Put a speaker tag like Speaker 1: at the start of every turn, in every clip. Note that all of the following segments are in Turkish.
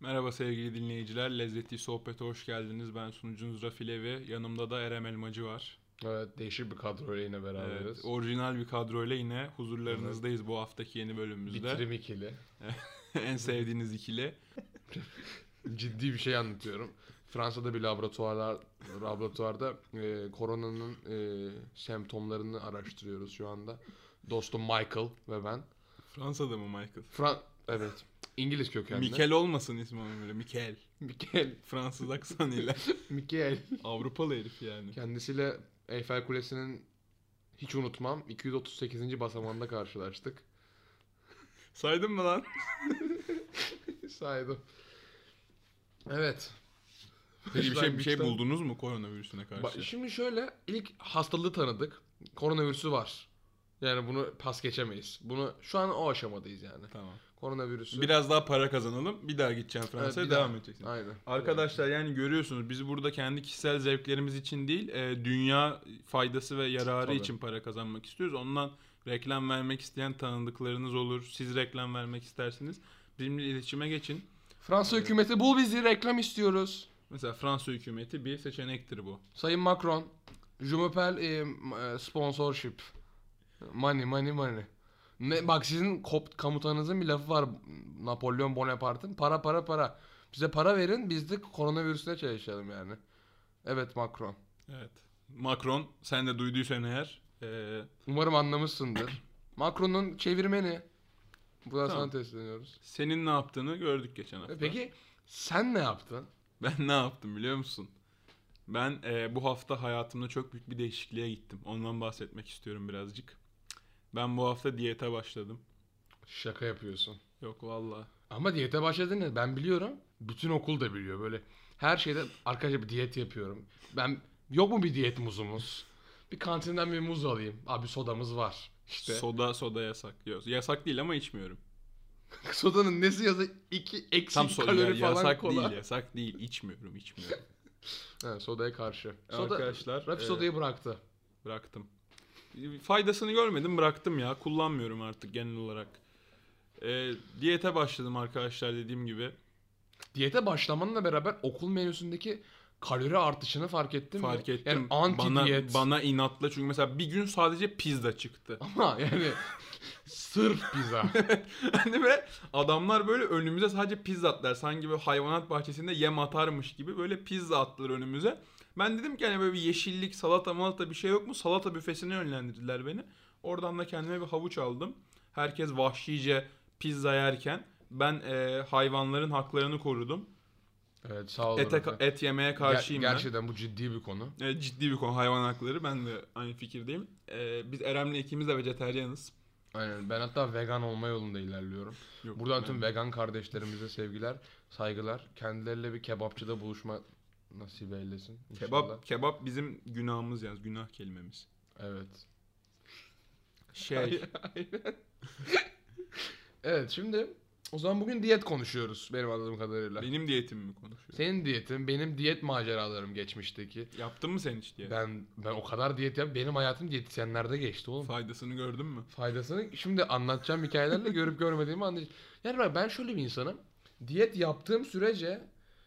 Speaker 1: Merhaba sevgili dinleyiciler. Lezzeti Sohbet'e hoş geldiniz. Ben sunucunuz Rafi Levi. Yanımda da Erem Elmacı var.
Speaker 2: Evet değişik bir kadroyla yine beraberiz.
Speaker 1: Evet, orijinal bir kadroyla yine huzurlarınızdayız bu haftaki yeni bölümümüzde.
Speaker 2: Bitirim ikili.
Speaker 1: en sevdiğiniz ikili.
Speaker 2: Ciddi bir şey anlatıyorum. Fransa'da bir laboratuvarlar laboratuvarda e, koronanın e, semptomlarını araştırıyoruz şu anda. Dostum Michael ve ben.
Speaker 1: Fransa'da mı Michael?
Speaker 2: Fran evet. İngiliz kökenli.
Speaker 1: Mikel olmasın ismi onun böyle. Mikel.
Speaker 2: Mikel.
Speaker 1: Fransız aksanıyla.
Speaker 2: Mikel.
Speaker 1: Avrupalı herif yani.
Speaker 2: Kendisiyle Eyfel Kulesi'nin hiç unutmam 238. basamağında karşılaştık.
Speaker 1: Saydın mı lan?
Speaker 2: Saydım. Evet.
Speaker 1: Peki bir şey, bir şey
Speaker 2: Başlangıçta-
Speaker 1: buldunuz mu koronavirüsüne karşı?
Speaker 2: Ba- şimdi şöyle ilk hastalığı tanıdık. Koronavirüsü var. Yani bunu pas geçemeyiz. Bunu şu an o aşamadayız yani.
Speaker 1: Tamam.
Speaker 2: Koronavirüsü.
Speaker 1: Biraz daha para kazanalım. Bir daha gideceğim
Speaker 2: Evet,
Speaker 1: Fransa'ya
Speaker 2: bir
Speaker 1: devam
Speaker 2: daha.
Speaker 1: edeceksin.
Speaker 2: Aynen.
Speaker 1: Arkadaşlar yani görüyorsunuz biz burada kendi kişisel zevklerimiz için değil e, dünya faydası ve yararı
Speaker 2: Tabii.
Speaker 1: için para kazanmak istiyoruz. Ondan reklam vermek isteyen tanıdıklarınız olur. Siz reklam vermek istersiniz. Bizimle iletişime geçin.
Speaker 2: Fransa hükümeti bul bizi reklam istiyoruz.
Speaker 1: Mesela Fransa hükümeti bir seçenektir bu.
Speaker 2: Sayın Macron. Je m'appelle e, m- e, sponsorship. Money money money. Ne, bak sizin kop, komutanınızın bir lafı var Napolyon Bonaparte'ın. Para para para. Bize para verin biz de koronavirüsüne çalışalım yani. Evet Macron.
Speaker 1: Evet. Macron sen de duyduysan eğer e,
Speaker 2: Umarım anlamışsındır. Macron'un çevirmeni. Buradan
Speaker 1: Tamam.
Speaker 2: sana tesleniyoruz. E
Speaker 1: senin ne yaptığını gördük geçen hafta.
Speaker 2: Peki sen ne yaptın?
Speaker 1: Ben ne yaptım biliyor musun? Ben e, bu hafta hayatımda çok büyük bir değişikliğe gittim. Ondan bahsetmek istiyorum birazcık. Ben bu hafta diyete başladım.
Speaker 2: Şaka yapıyorsun.
Speaker 1: Yok valla.
Speaker 2: Ama diyete başladın ya ben biliyorum. Bütün okul da biliyor böyle. Her şeyde arkadaşlar bir diyet yapıyorum. Ben yok mu bir diyet muzumuz? Bir kantinden bir muz alayım. Abi sodamız var. İşte
Speaker 1: Soda soda yasak. Yok, yasak değil ama içmiyorum.
Speaker 2: sodanın nesi yazı 2 eksi
Speaker 1: Tam soda
Speaker 2: kalori falan
Speaker 1: yasak
Speaker 2: kola.
Speaker 1: değil, yasak değil. İçmiyorum, içmiyorum.
Speaker 2: He, sodaya karşı. Soda,
Speaker 1: Arkadaşlar,
Speaker 2: Rafi
Speaker 1: e,
Speaker 2: sodayı bıraktı.
Speaker 1: Bıraktım. Faydasını görmedim, bıraktım ya. Kullanmıyorum artık genel olarak. E, diyete başladım arkadaşlar dediğim gibi.
Speaker 2: Diyete başlamanla beraber okul menüsündeki kalori artışını fark ettin mi?
Speaker 1: Fark ettim.
Speaker 2: Yani anti
Speaker 1: bana,
Speaker 2: diyet.
Speaker 1: bana inatla çünkü mesela bir gün sadece pizza çıktı.
Speaker 2: Ama yani sırf pizza.
Speaker 1: Hani böyle adamlar böyle önümüze sadece pizza atlar. Sanki böyle hayvanat bahçesinde yem atarmış gibi böyle pizza attılar önümüze. Ben dedim ki hani böyle bir yeşillik, salata malata bir şey yok mu? Salata büfesine yönlendirdiler beni. Oradan da kendime bir havuç aldım. Herkes vahşice pizza yerken ben eee, hayvanların haklarını korudum.
Speaker 2: evet sağ olun.
Speaker 1: Ete,
Speaker 2: efendim.
Speaker 1: et yemeye
Speaker 2: Ger-
Speaker 1: karşıyım ben.
Speaker 2: Gerçekten bu ciddi bir konu.
Speaker 1: Evet, ciddi bir konu hayvan hakları. Ben de aynı fikirdeyim. Eee, biz Erem'le ikimiz de vejeteryanız.
Speaker 2: Aynen. Ben hatta vegan olma yolunda ilerliyorum.
Speaker 1: Yok,
Speaker 2: Buradan
Speaker 1: ben-
Speaker 2: tüm vegan kardeşlerimize sevgiler, saygılar. Kendileriyle bir kebapçıda buluşma nasip eylesin. inşallah.
Speaker 1: Kebap, kebap bizim günahımız yalnız. Günah kelimemiz.
Speaker 2: Evet.
Speaker 1: Şey,
Speaker 2: Evet şimdi o zaman bugün diyet konuşuyoruz benim anladığım kadarıyla.
Speaker 1: benim diyetim mi konuşuyor?
Speaker 2: Senin diyetin, benim diyet maceralarım geçmişteki.
Speaker 1: Yaptın mı sen hiç diyet?
Speaker 2: Ben ben o kadar diyet yap. Benim hayatım diyetisyenlerde geçti oğlum.
Speaker 1: Faydasını gördün mü?
Speaker 2: faydasını şimdi anlatacağım hikayelerle görüp görmediğimi anlayacağım. Yani bak ben şöyle bir insanım. Diyet yaptığım sürece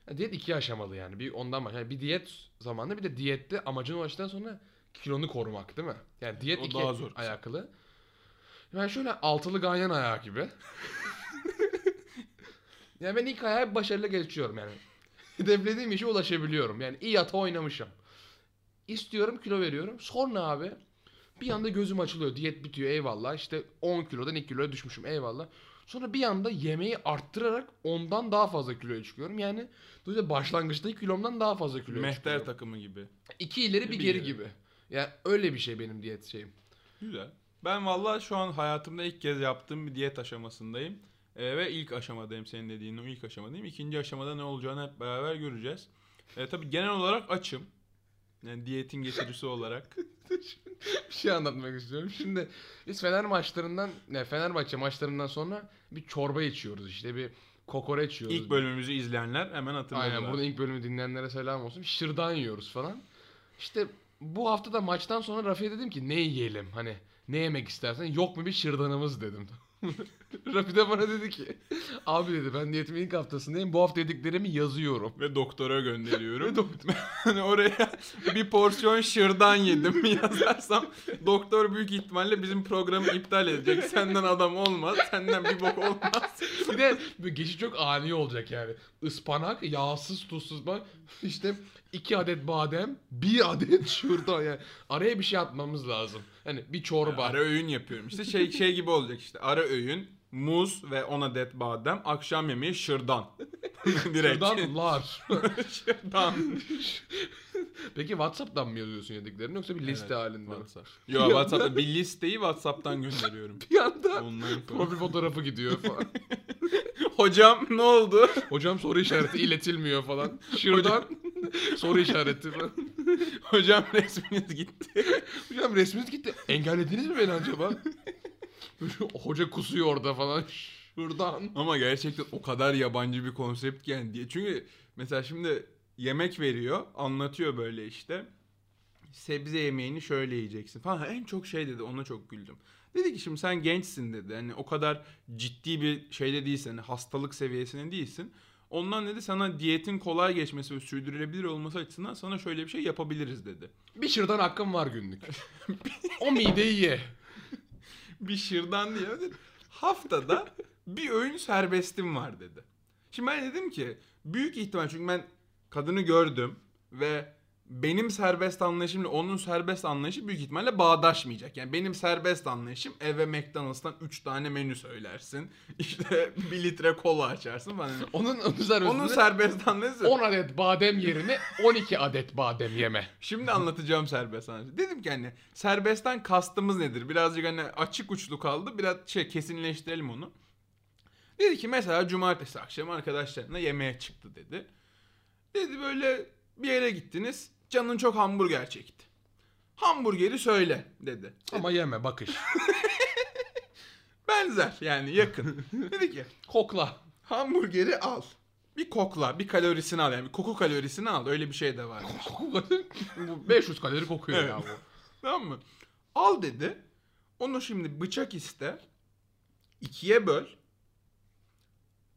Speaker 2: yani diyet iki aşamalı yani. Bir ondan bak. Yani bir diyet zamanında bir de diyette amacına ulaştıktan sonra kilonu korumak değil mi? Yani diyet
Speaker 1: O
Speaker 2: iki
Speaker 1: daha zor.
Speaker 2: ayaklı. Ben şöyle altılı ganyan ayağı gibi. yani ben ilk ayağı başarılı geçiyorum yani. Hedeflediğim işe ulaşabiliyorum. Yani iyi ata oynamışım. İstiyorum kilo veriyorum. Sonra abi bir anda gözüm açılıyor. Diyet bitiyor eyvallah. İşte 10 kilodan 2 kiloya düşmüşüm eyvallah. Sonra bir anda yemeği arttırarak ondan daha fazla kiloya çıkıyorum. Yani dolayısıyla başlangıçtaki kilomdan daha fazla kiloya
Speaker 1: Mehter
Speaker 2: çıkıyorum.
Speaker 1: takımı gibi.
Speaker 2: İki ileri bir
Speaker 1: Bir
Speaker 2: geri
Speaker 1: geri.
Speaker 2: gibi. Yani öyle bir şey benim diyet şeyim.
Speaker 1: Güzel. Ben vallahi şu an hayatımda ilk kez yaptığım bir diyet aşamasındayım. Ee, ve ilk aşamadayım senin dediğin o ilk aşamadayım. İkinci aşamada ne olacağını hep beraber göreceğiz. Ee, tabii genel olarak açım. Yani diyetin getirisi olarak.
Speaker 2: bir şey anlatmak istiyorum. Şimdi biz Fener maçlarından, ne Fenerbahçe maçlarından sonra bir çorba içiyoruz işte bir kokoreç içiyoruz.
Speaker 1: İlk bölümümüzü izleyenler hemen hatırladılar.
Speaker 2: Aynen burada ilk bölümü dinleyenlere selam olsun. Şırdan yiyoruz falan. İşte bu hafta da maçtan sonra Rafi'ye dedim ki ne yiyelim hani ne yemek istersen yok mu bir şırdanımız dedim. Rafi de bana dedi ki abi dedi ben diyetimin ilk haftasındayım bu hafta yediklerimi yazıyorum.
Speaker 1: Ve doktora gönderiyorum.
Speaker 2: Ve doktor-
Speaker 1: Hani oraya bir porsiyon şırdan yedim yazarsam doktor büyük ihtimalle bizim programı iptal edecek. Senden adam olmaz, senden bir bok olmaz.
Speaker 2: bir de bu geçiş çok ani olacak yani. Ispanak, yağsız, tuzsuz bak işte iki adet badem, bir adet şurada yani. Araya bir şey atmamız lazım. Hani bir çorba.
Speaker 1: Ara öğün yapıyorum işte şey şey gibi olacak işte ara öğün muz ve 10 adet badem akşam yemeği şırdan. Direkt.
Speaker 2: Şuradan lar.
Speaker 1: şırdan.
Speaker 2: Peki Whatsapp'tan mı yazıyorsun yediklerini yoksa bir liste
Speaker 1: Evet,
Speaker 2: halinde mi?
Speaker 1: WhatsApp. Yo WhatsApp'ta bir listeyi WhatsApp'tan gönderiyorum.
Speaker 2: Bir anda
Speaker 1: Online falan.
Speaker 2: profil fotoğrafı gidiyor falan.
Speaker 1: Hocam ne oldu?
Speaker 2: Hocam soru işareti iletilmiyor falan. Şuradan soru işareti falan.
Speaker 1: Hocam resminiz gitti.
Speaker 2: Hocam resminiz gitti. Engellediniz mi beni acaba? Hoca kusuyor orada falan. Şuradan.
Speaker 1: Ama gerçekten o kadar yabancı bir konsept ki yani diye. Çünkü mesela şimdi yemek veriyor, anlatıyor böyle işte. Sebze yemeğini şöyle yiyeceksin falan. En çok şey dedi, ona çok güldüm. Dedi ki şimdi sen gençsin dedi. Hani o kadar ciddi bir şeyde değilsin, hani hastalık seviyesinde değilsin. Ondan dedi sana diyetin kolay geçmesi ve sürdürülebilir olması açısından sana şöyle bir şey yapabiliriz dedi.
Speaker 2: Bir şırdan hakkım var günlük. o mideyi ye.
Speaker 1: bir şırdan diye dedi. haftada bir öğün serbestim var dedi. Şimdi ben dedim ki büyük ihtimal çünkü ben kadını gördüm ve benim serbest anlayışımla onun serbest anlayışı büyük ihtimalle bağdaşmayacak. Yani benim serbest anlayışım eve McDonald's'tan 3 tane menü söylersin. İşte 1 litre kola açarsın falan.
Speaker 2: Onun, onun servisinde
Speaker 1: Onun serbest anlayışı.
Speaker 2: 10 adet badem yerine 12 adet badem yeme.
Speaker 1: Şimdi anlatacağım serbest sanatçı. Dedim ki hani serbestten kastımız nedir? Birazcık hani açık uçlu kaldı. Biraz şey kesinleştirelim onu. Dedi ki mesela cumartesi akşamı arkadaşlarına yemeğe çıktı dedi. Dedi böyle bir yere gittiniz. Canın çok hamburger çekti. Hamburgeri söyle dedi.
Speaker 2: Ama yeme bakış.
Speaker 1: Benzer yani yakın. dedi ki
Speaker 2: Kokla.
Speaker 1: hamburgeri al. Bir kokla, bir kalorisini al yani bir koku kalorisini al. Öyle bir şey de var.
Speaker 2: Bu 500 kalori kokuyor ya
Speaker 1: Evet.
Speaker 2: bu.
Speaker 1: Tamam mı? Al dedi. Onu şimdi bıçak iste. ikiye böl.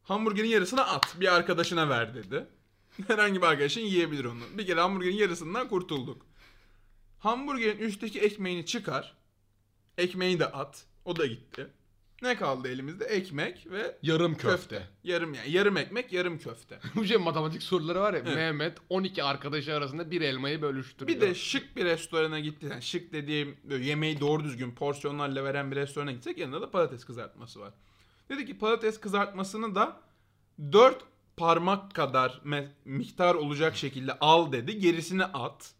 Speaker 1: Hamburgerin yarısını at. Bir arkadaşına ver dedi. Herhangi bir arkadaşın yiyebilir onu. Bir kere hamburgerin yarısından kurtulduk. Hamburgerin üstteki ekmeğini çıkar. Ekmeği de at. O da gitti. Ne kaldı elimizde? Ekmek ve
Speaker 2: Yarım
Speaker 1: köfte.
Speaker 2: köfte.
Speaker 1: Yarım yani yarım ekmek, yarım köfte.
Speaker 2: Bu şey matematik soruları var ya.
Speaker 1: Evet.
Speaker 2: Mehmet 12 arkadaşı arasında bir elmayı bölüştürüyor.
Speaker 1: Bir de şık bir restorana gitti. Yani şık dediğim böyle yemeği doğru düzgün porsiyonlarla veren bir restorana gitsek yanında da patates kızartması var. Dedi ki patates kızartmasını da 4 parmak kadar me- miktar olacak şekilde al dedi. Gerisini at.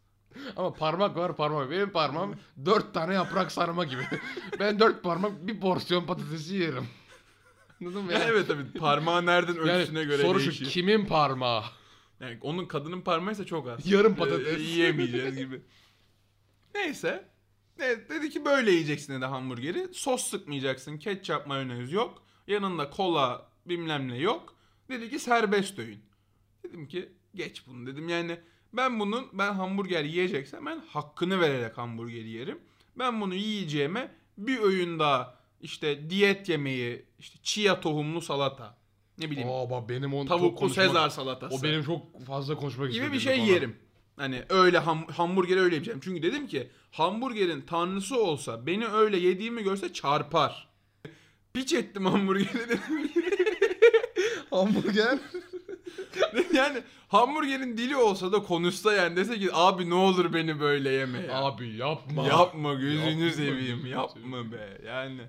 Speaker 2: Ama parmak var parmak. Benim parmağım dört tane yaprak sarma gibi. ben dört parmak bir porsiyon patatesi yerim. Anladın mı?
Speaker 1: Yani evet tabii parmağı nereden
Speaker 2: Yani
Speaker 1: ölçüsüne göre
Speaker 2: soru şu
Speaker 1: değişir.
Speaker 2: kimin parmağı?
Speaker 1: Yani onun kadının parmağıysa çok az.
Speaker 2: Yarım patates.
Speaker 1: Ee, yiyemeyeceğiz gibi. Neyse. Ne- dedi ki böyle yiyeceksin dedi hamburgeri. Sos sıkmayacaksın. Ketçap mayonez yok. Yanında kola bilmem ne yok. Dedi ki serbest öğün. Dedim ki geç bunu dedim. Yani ben bunun ben hamburger yiyeceksem ben hakkını vererek hamburgeri yerim. Ben bunu yiyeceğime bir öğün daha işte diyet yemeği işte chia tohumlu salata. Ne bileyim
Speaker 2: Aa bak benim on çok
Speaker 1: tavuklu
Speaker 2: konuşmak-
Speaker 1: sezar salatası
Speaker 2: O benim çok fazla konuşmak
Speaker 1: gibi bir şey
Speaker 2: istediğim konu.
Speaker 1: yerim. Hani öyle ham- hamburgeri öyle yiyeceğim. Çünkü dedim ki hamburgerin tanrısı olsa beni öyle yediğimi görse çarpar. Piç ettim hamburgeri dedim.
Speaker 2: Hamburger.
Speaker 1: yani hamburgerin dili olsa da konuşsa yani dese ki abi ne olur beni böyle yeme ya.
Speaker 2: Abi yapma.
Speaker 1: yapma gözünü
Speaker 2: Yapma,
Speaker 1: seveyim
Speaker 2: gözünü
Speaker 1: yapma be yani.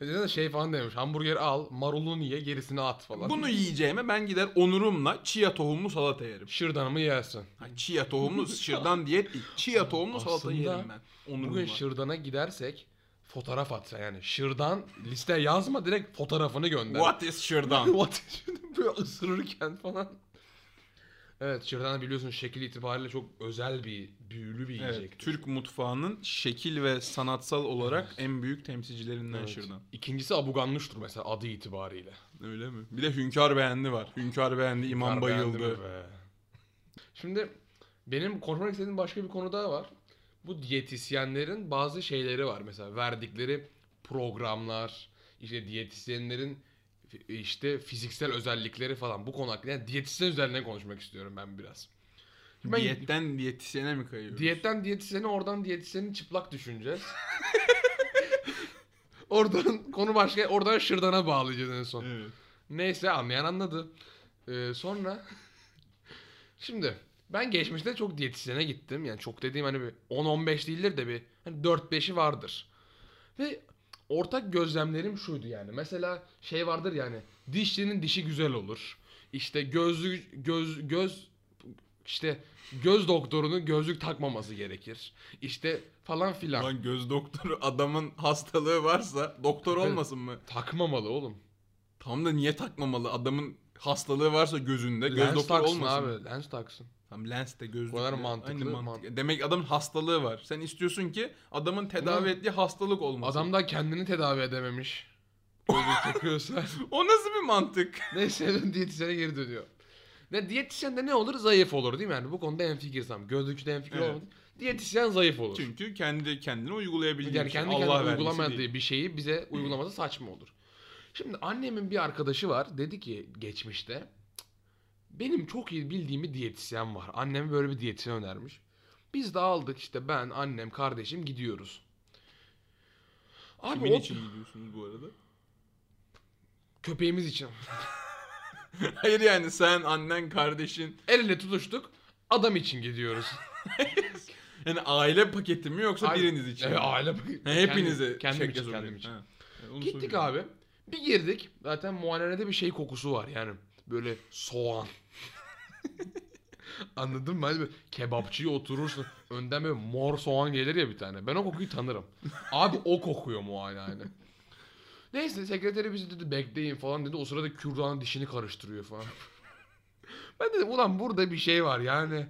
Speaker 2: Neden şey falan demiş. Hamburger al, marulunu ye, gerisini at falan.
Speaker 1: Bunu yiyeceğime ben gider onurumla chia tohumlu salata yerim.
Speaker 2: Şırdanımı yersin.
Speaker 1: Ha, chia tohumlu şırdan diyet değil. Chia tohumlu salata
Speaker 2: Aslında
Speaker 1: yerim ben. Onurumla.
Speaker 2: Bugün şırdana gidersek fotoğraf atsa yani. Şırdan liste yazma direkt fotoğrafını gönder.
Speaker 1: What is şırdan?
Speaker 2: What? Böyle ısırırken falan. Evet şırdan biliyorsun şekil itibariyle çok özel bir büyülü bir
Speaker 1: Evet,
Speaker 2: yiyecek.
Speaker 1: Türk mutfağının şekil ve sanatsal olarak en büyük temsilcilerinden
Speaker 2: Evet.
Speaker 1: şırdan.
Speaker 2: İkincisi abuganlıştır mesela adı itibariyle.
Speaker 1: Öyle mi? Bir de hünkar beğendi var. Hünkar beğendi, imam
Speaker 2: Kar beğendi
Speaker 1: bayıldı.
Speaker 2: mi be? Şimdi benim konuşmak istediğim başka bir konu daha var. Bu diyetisyenlerin bazı şeyleri var mesela verdikleri programlar, işte diyetisyenlerin fi- işte fiziksel özellikleri falan bu konu hakkında yani diyetisyen üzerine konuşmak istiyorum ben biraz. Ben-
Speaker 1: Diyetten diyetisyene mi kayıyoruz?
Speaker 2: Diyetten diyetisyene oradan diyetisyeni çıplak düşüneceğiz. oradan konu başka oradan şırdana bağlayacağız en son.
Speaker 1: Evet.
Speaker 2: Neyse anlayan anladı. Ee, sonra şimdi ben geçmişte çok diyetisyene gittim. Yani çok dediğim hani bir 10-15 değildir de bir hani 4-5'i vardır. Ve ortak gözlemlerim şuydu yani. Mesela şey vardır yani dişçinin dişi güzel olur. İşte gözlü göz göz işte göz doktorunun gözlük takmaması gerekir. İşte falan filan.
Speaker 1: Lan göz doktoru adamın hastalığı varsa doktor
Speaker 2: Evet.
Speaker 1: olmasın mı?
Speaker 2: Takmamalı oğlum.
Speaker 1: Tam da niye takmamalı? Adamın hastalığı varsa gözünde göz
Speaker 2: lens
Speaker 1: doktor
Speaker 2: taksın
Speaker 1: olmasın.
Speaker 2: abi. Lens taksın.
Speaker 1: Tam lens de gözlük.
Speaker 2: Bu kadar
Speaker 1: de
Speaker 2: mantıklı,
Speaker 1: aynı
Speaker 2: mantıklı.
Speaker 1: Demek adamın hastalığı var. Sen istiyorsun ki adamın tedavi
Speaker 2: Ulan-
Speaker 1: ettiği hastalık olmasın.
Speaker 2: Adam da kendini tedavi edememiş. Gözlük takıyorsa.
Speaker 1: O nasıl bir mantık?
Speaker 2: Neyse diyetisyene geri dönüyor. Ne diyetisyen de ne olur? Zayıf olur değil mi? Yani bu konuda en fikirsem. Gözlükçü de en fikir
Speaker 1: Evet.
Speaker 2: Diyetisyen zayıf olur.
Speaker 1: Çünkü kendi kendini uygulayabildiği
Speaker 2: yani
Speaker 1: için.
Speaker 2: kendi
Speaker 1: Allah
Speaker 2: kendine
Speaker 1: vergisi
Speaker 2: uygulamadığı
Speaker 1: değil.
Speaker 2: bir şeyi bize uygulaması saçma olur. Şimdi annemin bir arkadaşı var. Dedi ki geçmişte "Cık, benim çok iyi bildiğim bir diyetisyen var. Anneme böyle bir diyetisyen önermiş. Biz de aldık işte ben, annem, kardeşim gidiyoruz. Abi
Speaker 1: Kimin
Speaker 2: o
Speaker 1: için gidiyorsunuz bu arada?
Speaker 2: köpeğimiz için.
Speaker 1: Hayır yani sen, annen, kardeşin.
Speaker 2: El ele tutuştuk. Adam için gidiyoruz.
Speaker 1: Yani aile paketi mi yoksa
Speaker 2: Abi-
Speaker 1: biriniz için? mi?
Speaker 2: Evet, aile.
Speaker 1: Ha, hepinize.
Speaker 2: Kendim,
Speaker 1: şaka
Speaker 2: kendim için.
Speaker 1: soruyorum.
Speaker 2: Kendim için.
Speaker 1: Ha. E, onu
Speaker 2: Gittik
Speaker 1: soruyorum.
Speaker 2: abi. Bir girdik. Zaten muayenede bir şey kokusu var yani. Böyle soğan. Anladın mı? Hani böyle kebapçıya oturursun. Önden böyle mor soğan gelir ya bir tane. Ben o kokuyu tanırım. Abi o kokuyor muayenehane. Neyse sekreteri bizi dedi bekleyin falan dedi. O sırada kürdanın dişini karıştırıyor falan. ben dedim ulan burada bir şey var yani.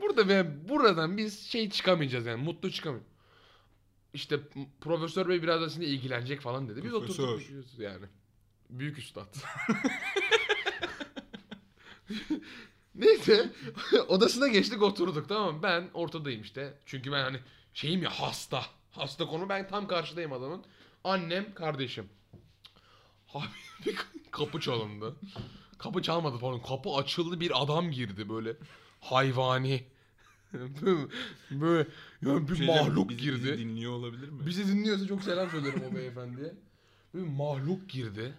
Speaker 2: Burada ve buradan biz şey çıkamayacağız yani mutlu çıkamayacağız. İşte m- profesör bey biraz aslında ilgilenecek falan dedi. Biz
Speaker 1: Profesör.
Speaker 2: oturduk düşünüyoruz yani. Büyük üstad. Neyse odasına geçtik oturduk tamam mı? Ben ortadayım işte. Çünkü ben hani şeyim ya hasta. Hasta konu ben tam karşıdayım adamın. Annem, kardeşim. Abi bir kapı çalındı. Kapı çalmadı pardon. Kapı açıldı bir adam girdi böyle. Hayvani. böyle yani bir
Speaker 1: Şey diyeceğim,
Speaker 2: mahluk
Speaker 1: bizi-
Speaker 2: girdi.
Speaker 1: Bizi dinliyor olabilir mi?
Speaker 2: Bizi dinliyorsa çok selam söylerim o beyefendiye. Bir mahluk girdi.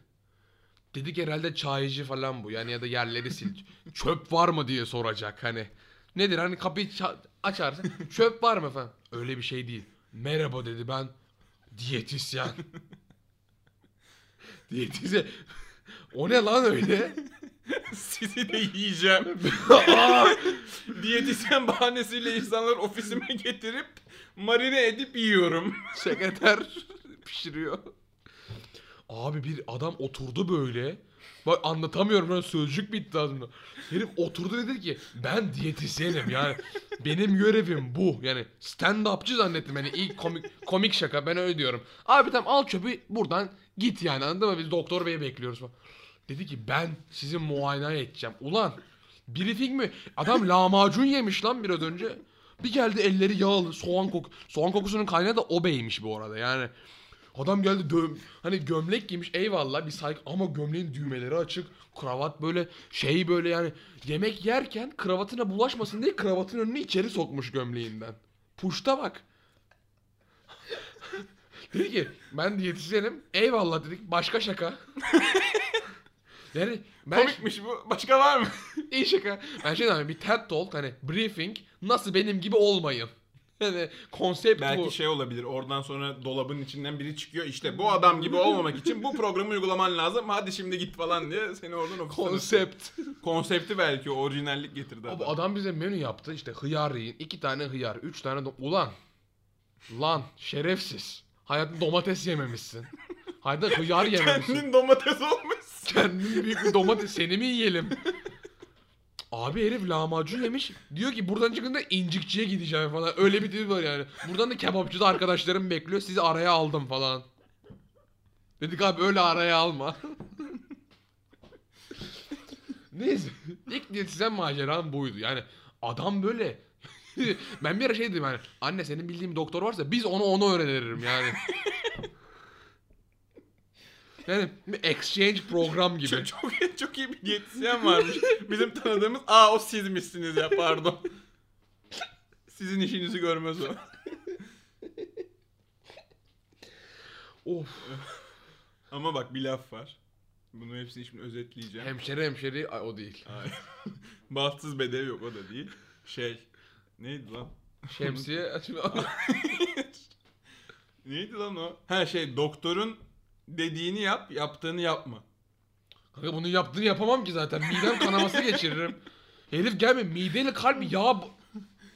Speaker 2: Dedik herhalde çaycı falan bu. Yani ya da yerleri sil. çöp var mı diye soracak hani. Nedir hani kapıyı ça- açarsın. Çöp var mı falan. Öyle bir şey değil. Merhaba dedi ben diyetisyen. diyetisyen. O ne lan öyle?
Speaker 1: Sizi de yiyeceğim.
Speaker 2: Aa!
Speaker 1: Diyetisyen bahanesiyle insanlar ofisime getirip marine edip yiyorum.
Speaker 2: Sekreter pişiriyor. Abi bir adam oturdu böyle. Bak anlatamıyorum ben sözcük bitti ağzımda. Herif oturdu dedi ki ben diyetisyenim yani benim görevim bu. Yani stand upçı zannettim hani ilk komik, komik şaka ben öyle diyorum. Abi tamam al çöpü buradan git yani anladın mı biz doktor beyi bekliyoruz falan. Dedi ki ben sizi muayene edeceğim. Ulan briefing mi? Adam lahmacun yemiş lan biraz önce. Bir geldi elleri yağlı soğan kok soğan kokusunun kaynağı da o beymiş bu arada yani. Adam geldi dö- hani gömlek giymiş eyvallah bir saygı ama gömleğin düğmeleri açık. Kravat böyle şey böyle yani yemek yerken kravatına bulaşmasın diye kravatın önünü içeri sokmuş gömleğinden. Puşta bak. dedi ki ben diyetisyenim eyvallah dedik başka şaka. yani ben
Speaker 1: Komikmiş bu. Başka var mı?
Speaker 2: İyi şaka. Ben şey diyorum bir TED Talk hani briefing nasıl benim gibi olmayın. Yani konsept
Speaker 1: Belki
Speaker 2: bu.
Speaker 1: şey olabilir. Oradan sonra dolabın içinden biri çıkıyor. İşte bu adam gibi olmamak için bu programı uygulaman lazım. Hadi şimdi git falan diye seni oradan ofisten
Speaker 2: konsept.
Speaker 1: Konsepti belki o orijinallik getirdi
Speaker 2: Abi
Speaker 1: adam.
Speaker 2: adam bize menü yaptı işte hıyar yiyin. iki tane hıyar, üç tane do- Ulan. Lan şerefsiz. Hayatında domates yememişsin. Hayatında hıyar yememişsin.
Speaker 1: Kendin domates olmuş.
Speaker 2: Kendin büyük bir domates seni mi yiyelim? Abi herif lahmacun yemiş. Diyor ki buradan çıkınca incikçiye gideceğim falan. Öyle bir tipi var yani. Buradan da kebapçıda arkadaşlarım bekliyor. Sizi araya aldım falan. Dedik abi öyle araya alma. Neyse. İlk diyetisyen maceram buydu. Yani adam böyle. ben bir ara şey dedim yani. Anne senin bildiğin doktor varsa biz onu onu öğrenirim yani. Yani bir exchange program gibi.
Speaker 1: Çok, çok, çok iyi bir diyetisyen varmış. Bizim tanıdığımız aa o sizmişsiniz ya pardon. Sizin işinizi görmez o.
Speaker 2: of.
Speaker 1: Ama bak bir laf var. Bunu hepsini şimdi özetleyeceğim.
Speaker 2: Hemşeri hemşeri ay, o değil.
Speaker 1: Ay. Bahtsız bedev yok o da değil. Şey neydi lan?
Speaker 2: Şemsiye
Speaker 1: Neydi lan o? Her şey doktorun dediğini yap, yaptığını yapma.
Speaker 2: Kanka bunu yaptığını yapamam ki zaten. Midem kanaması geçiririm. Herif gelme mideyle kalp yağ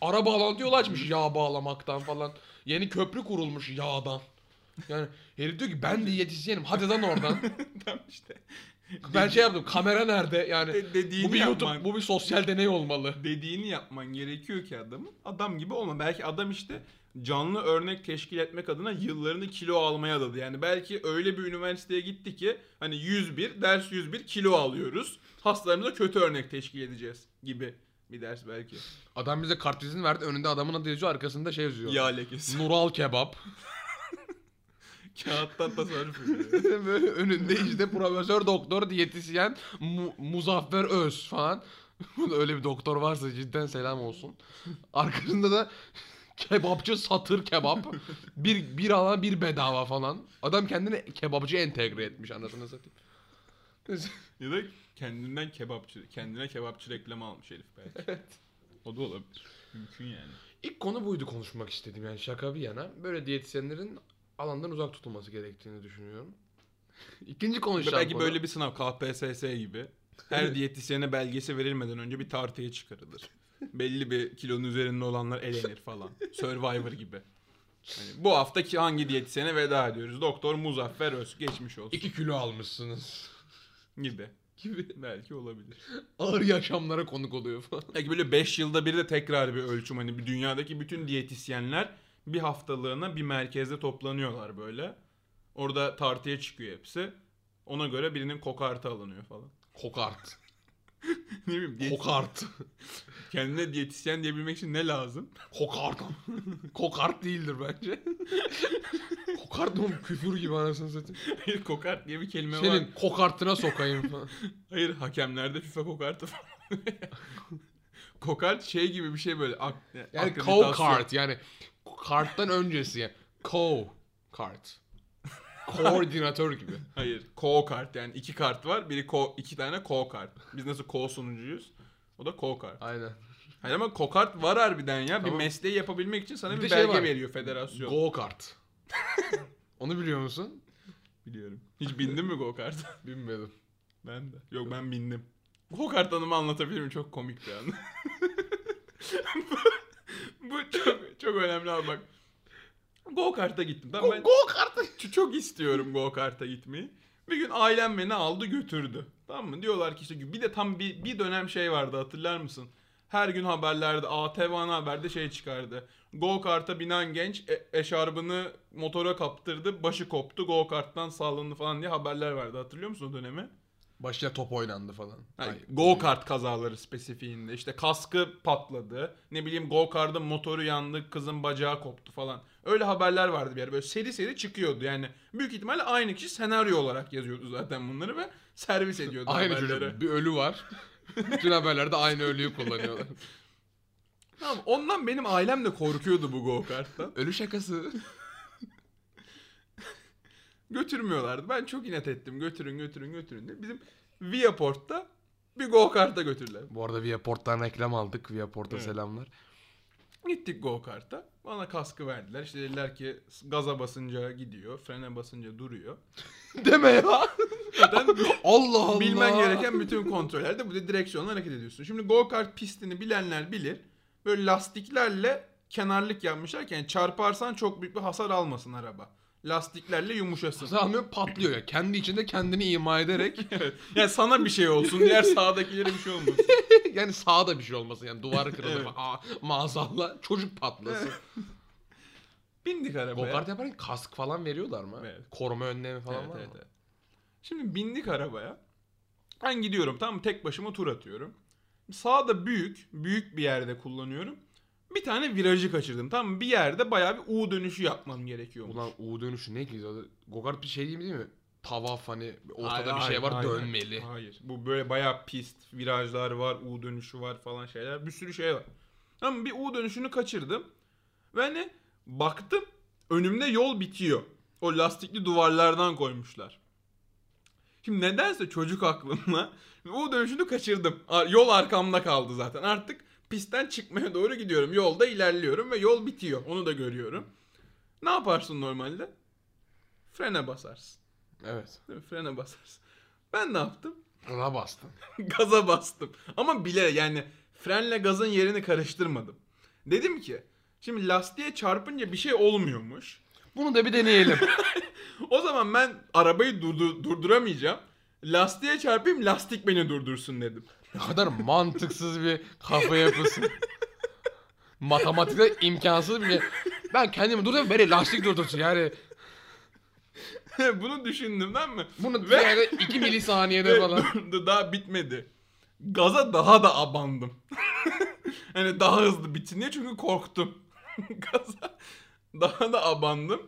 Speaker 2: ara bağlantı yolu açmış yağ bağlamaktan falan. Yeni köprü kurulmuş yağdan. Yani herif diyor ki ben diyetisyenim hadi lan oradan.
Speaker 1: Tam işte.
Speaker 2: Ben şey yaptım kamera nerede yani
Speaker 1: De- dediğini
Speaker 2: bu bir YouTube
Speaker 1: yapman-
Speaker 2: bu bir sosyal deney olmalı.
Speaker 1: dediğini yapman gerekiyor ki adamın. Adam gibi olma. Belki adam işte canlı örnek teşkil etmek adına yıllarını kilo almaya adadı. Yani belki öyle bir üniversiteye gitti ki hani 101 ders 101 kilo alıyoruz. Hastalarımıza kötü örnek teşkil edeceğiz gibi bir ders belki.
Speaker 2: Adam bize kartvizini verdi önünde adamın adı yazıyor arkasında şey yazıyor.
Speaker 1: Yağ lekesi.
Speaker 2: Nural kebap.
Speaker 1: Kağıttan tasarruf ediyor.
Speaker 2: Böyle önünde işte profesör, doktor, diyetisyen, Mu- Muzaffer Öz falan. Öyle bir doktor varsa cidden selam olsun. Arkasında da kebapçı satır kebap. Bir, bir alana bir bedava falan. Adam kendini kebapçı entegre etmiş anasını satayım.
Speaker 1: ya da kendinden kebapçı, kendine kebapçı reklamı almış herif belki. O da olabilir. Mümkün yani.
Speaker 2: İlk konu buydu konuşmak istediğim yani şaka bir yana. Böyle diyetisyenlerin alandan uzak tutulması gerektiğini düşünüyorum. İkinci konuşacağım
Speaker 1: Belki
Speaker 2: konu.
Speaker 1: böyle bir sınav KPSS gibi. Her diyetisyene belgesi verilmeden önce bir tartıya çıkarılır. Belli bir kilonun üzerinde olanlar elenir falan. Survivor gibi. Hani bu haftaki hangi diyetisyene veda ediyoruz? Doktor Muzaffer Öz geçmiş olsun
Speaker 2: İki kilo almışsınız.
Speaker 1: gibi.
Speaker 2: Gibi
Speaker 1: Belki olabilir.
Speaker 2: ağır yaşamlara konuk oluyor falan.
Speaker 1: Belki böyle 5 yılda bir de tekrar bir ölçüm. Hani bir dünyadaki bütün diyetisyenler bir haftalığına bir merkezde toplanıyorlar böyle. Orada tartıya çıkıyor hepsi. Ona göre birinin kokartı alınıyor falan.
Speaker 2: Kokart.
Speaker 1: ne bileyim diyet-
Speaker 2: Kokart.
Speaker 1: Kendine diyetisyen diyebilmek için ne lazım?
Speaker 2: Kokart. Kokart değildir bence. Kokart mı? Küfür gibi anasını satayım.
Speaker 1: Hayır kokart diye bir kelime var.
Speaker 2: Senin kokartına sokayım falan.
Speaker 1: Hayır hakemlerde FIFA kokartı falan. kokart şey gibi bir şey böyle. Ak-
Speaker 2: Yani
Speaker 1: akreditasyon.
Speaker 2: co-kart yani karttan öncesi yani. Co-kart. Koordinatör gibi.
Speaker 1: Hayır kokart yani iki kart var. Biri ko iki tane kokart. Biz nasıl ko sunucuyuz? O da kokart.
Speaker 2: Aynen.
Speaker 1: Hayır ama kokart var harbiden ya.
Speaker 2: Tamam.
Speaker 1: Bir mesleği yapabilmek için sana
Speaker 2: Bir
Speaker 1: bir,
Speaker 2: de şey
Speaker 1: belge
Speaker 2: var.
Speaker 1: veriyor federasyon.
Speaker 2: Go-kart. Onu biliyor musun?
Speaker 1: Biliyorum. Hiç bindin mi kokart?
Speaker 2: Bilmedim.
Speaker 1: ben de. Yok ben bindim. Kokart anımı anlatabilirim. Çok komik bir an. bu, bu çok, çok önemli abi bak. Go kart'a gittim. Tamam, ben
Speaker 2: Go-kart.
Speaker 1: Ç- çok istiyorum go kart'a gitmeyi. Bir gün ailem beni aldı götürdü. Tamam mı? Diyorlar ki işte bir de tam bir, bir dönem şey vardı hatırlar mısın? Her gün haberlerde ATV ana haberde şey çıkardı. Go kart'a binen genç e- eşarbını motora kaptırdı. Başı koptu. Go kart'tan sallandı falan diye haberler vardı. Hatırlıyor musun o dönemi?
Speaker 2: Başta top oynandı falan. Hayır.
Speaker 1: Go kart kazaları spesifiğinde işte kaskı patladı. Ne bileyim go kartın motoru yandı, kızın bacağı koptu falan. Öyle haberler vardı bir yer. Böyle seri seri çıkıyordu yani. Büyük ihtimalle aynı kişi senaryo olarak yazıyordu zaten bunları ve servis ediyordu
Speaker 2: Aynı
Speaker 1: haberleri.
Speaker 2: çocuk. Bir ölü var. Bütün haberlerde aynı ölüyü kullanıyorlar.
Speaker 1: Tamam, ondan benim ailem de korkuyordu bu go karttan.
Speaker 2: Ölü şakası.
Speaker 1: Götürmüyorlardı. Ben çok inat ettim. Götürün götürün götürün diye. Bizim Viaport'ta bir go karta götürdüler.
Speaker 2: Bu arada Viaport'tan reklam aldık. Viaport'a
Speaker 1: Evet.
Speaker 2: selamlar.
Speaker 1: Gittik go kart'a. Bana kaskı verdiler. İşte dediler ki gaza basınca gidiyor, frene basınca duruyor.
Speaker 2: Deme ya.
Speaker 1: Zaten
Speaker 2: Allah Allah.
Speaker 1: bilmen gereken bütün kontrollerde bu da direksiyonla hareket ediyorsun. Şimdi go kart pistini bilenler bilir. Böyle lastiklerle kenarlık yapmışlar ki yani çarparsan çok büyük bir hasar almasın araba. Lastiklerle yumuşasın.
Speaker 2: Zahmet patlıyor ya. Kendi içinde kendini ima ederek.
Speaker 1: yani sana bir şey olsun. Diğer sağdakilere bir şey olmasın.
Speaker 2: yani sağda bir şey olmasın. Yani duvarı kırılır.
Speaker 1: Evet.
Speaker 2: Aa, maazallah çocuk patlasın.
Speaker 1: Bindik arabaya.
Speaker 2: Gokart yaparken kask falan veriyorlar mı?
Speaker 1: Evet.
Speaker 2: Koruma önlemi falan
Speaker 1: Evet,
Speaker 2: var
Speaker 1: evet,
Speaker 2: mı?
Speaker 1: evet. Şimdi bindik arabaya. Ben gidiyorum tamam mı? Tek başıma tur atıyorum. Sağda büyük, büyük bir yerde kullanıyorum. Bir tane virajı kaçırdım tamam mı? Bir yerde bayağı bir U dönüşü yapmam gerekiyormuş.
Speaker 2: Ulan U dönüşü ne ki? Gokart bir şey değil mi? Tavaf hani ortada
Speaker 1: Hayır,
Speaker 2: bir şey
Speaker 1: hayır,
Speaker 2: var
Speaker 1: hayır,
Speaker 2: dönmeli.
Speaker 1: Hayır. Bu böyle bayağı pist, virajlar var, U dönüşü var falan şeyler. Bir sürü şey var. Ama bir U dönüşünü kaçırdım. Ve hani baktım önümde yol bitiyor. O lastikli duvarlardan koymuşlar. Şimdi nedense çocuk aklımla U dönüşünü kaçırdım. Ar- Yol arkamda kaldı zaten. Artık pistten çıkmaya doğru gidiyorum. Yolda ilerliyorum ve yol bitiyor. Onu da görüyorum. Ne yaparsın normalde? Frene basarsın.
Speaker 2: Evet.
Speaker 1: Değil mi? Frene basarsın. Ben ne yaptım?
Speaker 2: Gaza bastın.
Speaker 1: Gaza bastım. Ama bile yani frenle gazın yerini karıştırmadım. Dedim ki şimdi lastiğe çarpınca bir şey olmuyormuş.
Speaker 2: Bunu da bir deneyelim.
Speaker 1: O zaman ben arabayı durdu- durduramayacağım. Lastiğe çarpayım lastik beni durdursun dedim.
Speaker 2: ne kadar mantıksız bir kafa yapısı. Matematikte imkansız bir şey. Ben kendimi durdurayım beni lastik durdursun yani.
Speaker 1: Bunu düşündüm değil mi?
Speaker 2: Bunu
Speaker 1: Ve-
Speaker 2: yani 2 milisaniyede
Speaker 1: Ve
Speaker 2: falan.
Speaker 1: durdu, daha bitmedi. Gaza daha da abandım. hani daha hızlı bitsin diye çünkü korktum. Gaza daha da abandım.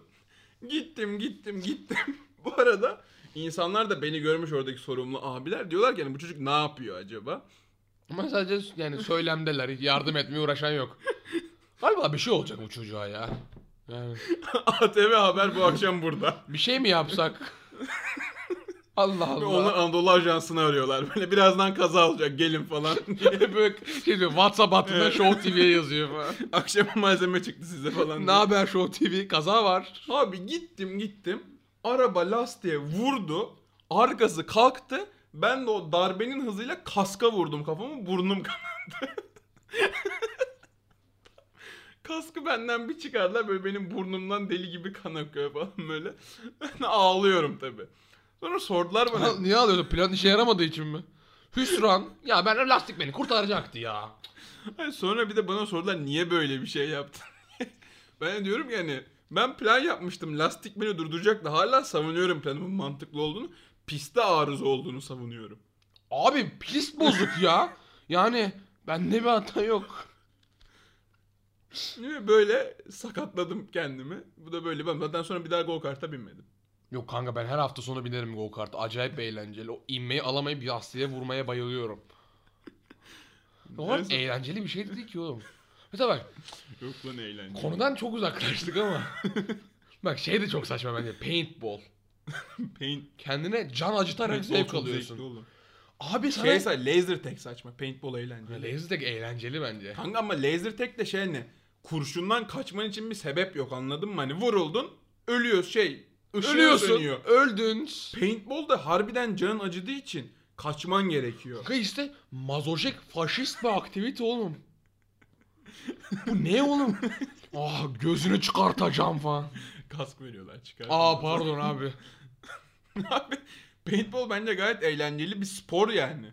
Speaker 1: Gittim gittim gittim. Bu arada insanlar da beni görmüş oradaki sorumlu abiler. Diyorlar ki yani bu çocuk ne yapıyor acaba?
Speaker 2: Ama sadece yani söylemdeler. hiç Yardım etmeye uğraşan yok. Galiba bir şey olacak bu çocuğa ya. Yani
Speaker 1: ATV Haber bu akşam burada.
Speaker 2: bir şey mi yapsak? Allah
Speaker 1: Ve
Speaker 2: Allah.
Speaker 1: Onlar Anadolu Ajansı'nı arıyorlar. Böyle birazdan kaza olacak gelin falan diye.
Speaker 2: böyle şey diyor, WhatsApp hattında
Speaker 1: Evet.
Speaker 2: Show TV'ye yazıyor falan.
Speaker 1: Akşam malzeme çıktı size falan
Speaker 2: ne
Speaker 1: diye.
Speaker 2: haber Show TV? Kaza var.
Speaker 1: Abi gittim gittim. Araba lastiğe vurdu. Arkası kalktı. Ben de o darbenin hızıyla kaska vurdum kafamı. Burnum kanadı. Kaskı benden bir çıkardılar. Böyle benim burnumdan deli gibi kan akıyor falan böyle. Ben ağlıyorum tabi. Sonra sordular bana.
Speaker 2: Niye alıyorsun? Plan işe yaramadığı için mi? Hüsran. Ya ben lastik beni kurtaracaktı ya.
Speaker 1: Hayır, sonra bir de bana sordular niye böyle bir şey yaptın diye. ben de diyorum ki hani ben plan yapmıştım. Lastik beni durduracaktı. Hala savunuyorum planımın mantıklı olduğunu. Piste arıza olduğunu savunuyorum.
Speaker 2: Abi pis bozuk ya. Yani bende bir hata yok.
Speaker 1: Ve böyle sakatladım kendimi. Bu da böyle. Ben zaten sonra bir daha go karta binmedim.
Speaker 2: Yok kanka ben her hafta sonu binerim go kart. Acayip eğlenceli. O inmeyi alamayıp lastiğe vurmaya bayılıyorum. O kadar
Speaker 1: Neyse.
Speaker 2: eğlenceli bir şey değil ki oğlum. Mesela bak
Speaker 1: Yok lan eğlence.
Speaker 2: konudan çok uzaklaştık ama. bak şey de çok saçma bence. Paintball.
Speaker 1: Paint,
Speaker 2: Kendine can acıtarak
Speaker 1: paintball
Speaker 2: zevk
Speaker 1: çok zevkli
Speaker 2: alıyorsun.
Speaker 1: oğlum.
Speaker 2: Abi sana...
Speaker 1: Şey say, laser tag saçma. Paintball eğlenceli.
Speaker 2: Laser tag eğlenceli bence.
Speaker 1: Kanka ama laser tag de şey ne? Kurşundan kaçman için bir sebep yok anladın mı? Hani vuruldun, ölüyor şey, ışığı
Speaker 2: Ölüyorsun,
Speaker 1: sönüyor.
Speaker 2: öldün.
Speaker 1: Paintball da harbiden canın acıdığı için kaçman gerekiyor.
Speaker 2: Kanka işte mazoşek faşist bir aktivite oğlum. Bu ne oğlum? Ah gözünü çıkartacağım falan.
Speaker 1: Kask veriyorlar çıkar.
Speaker 2: Aa pardon abi.
Speaker 1: Abi, paintball bence gayet eğlenceli bir spor yani.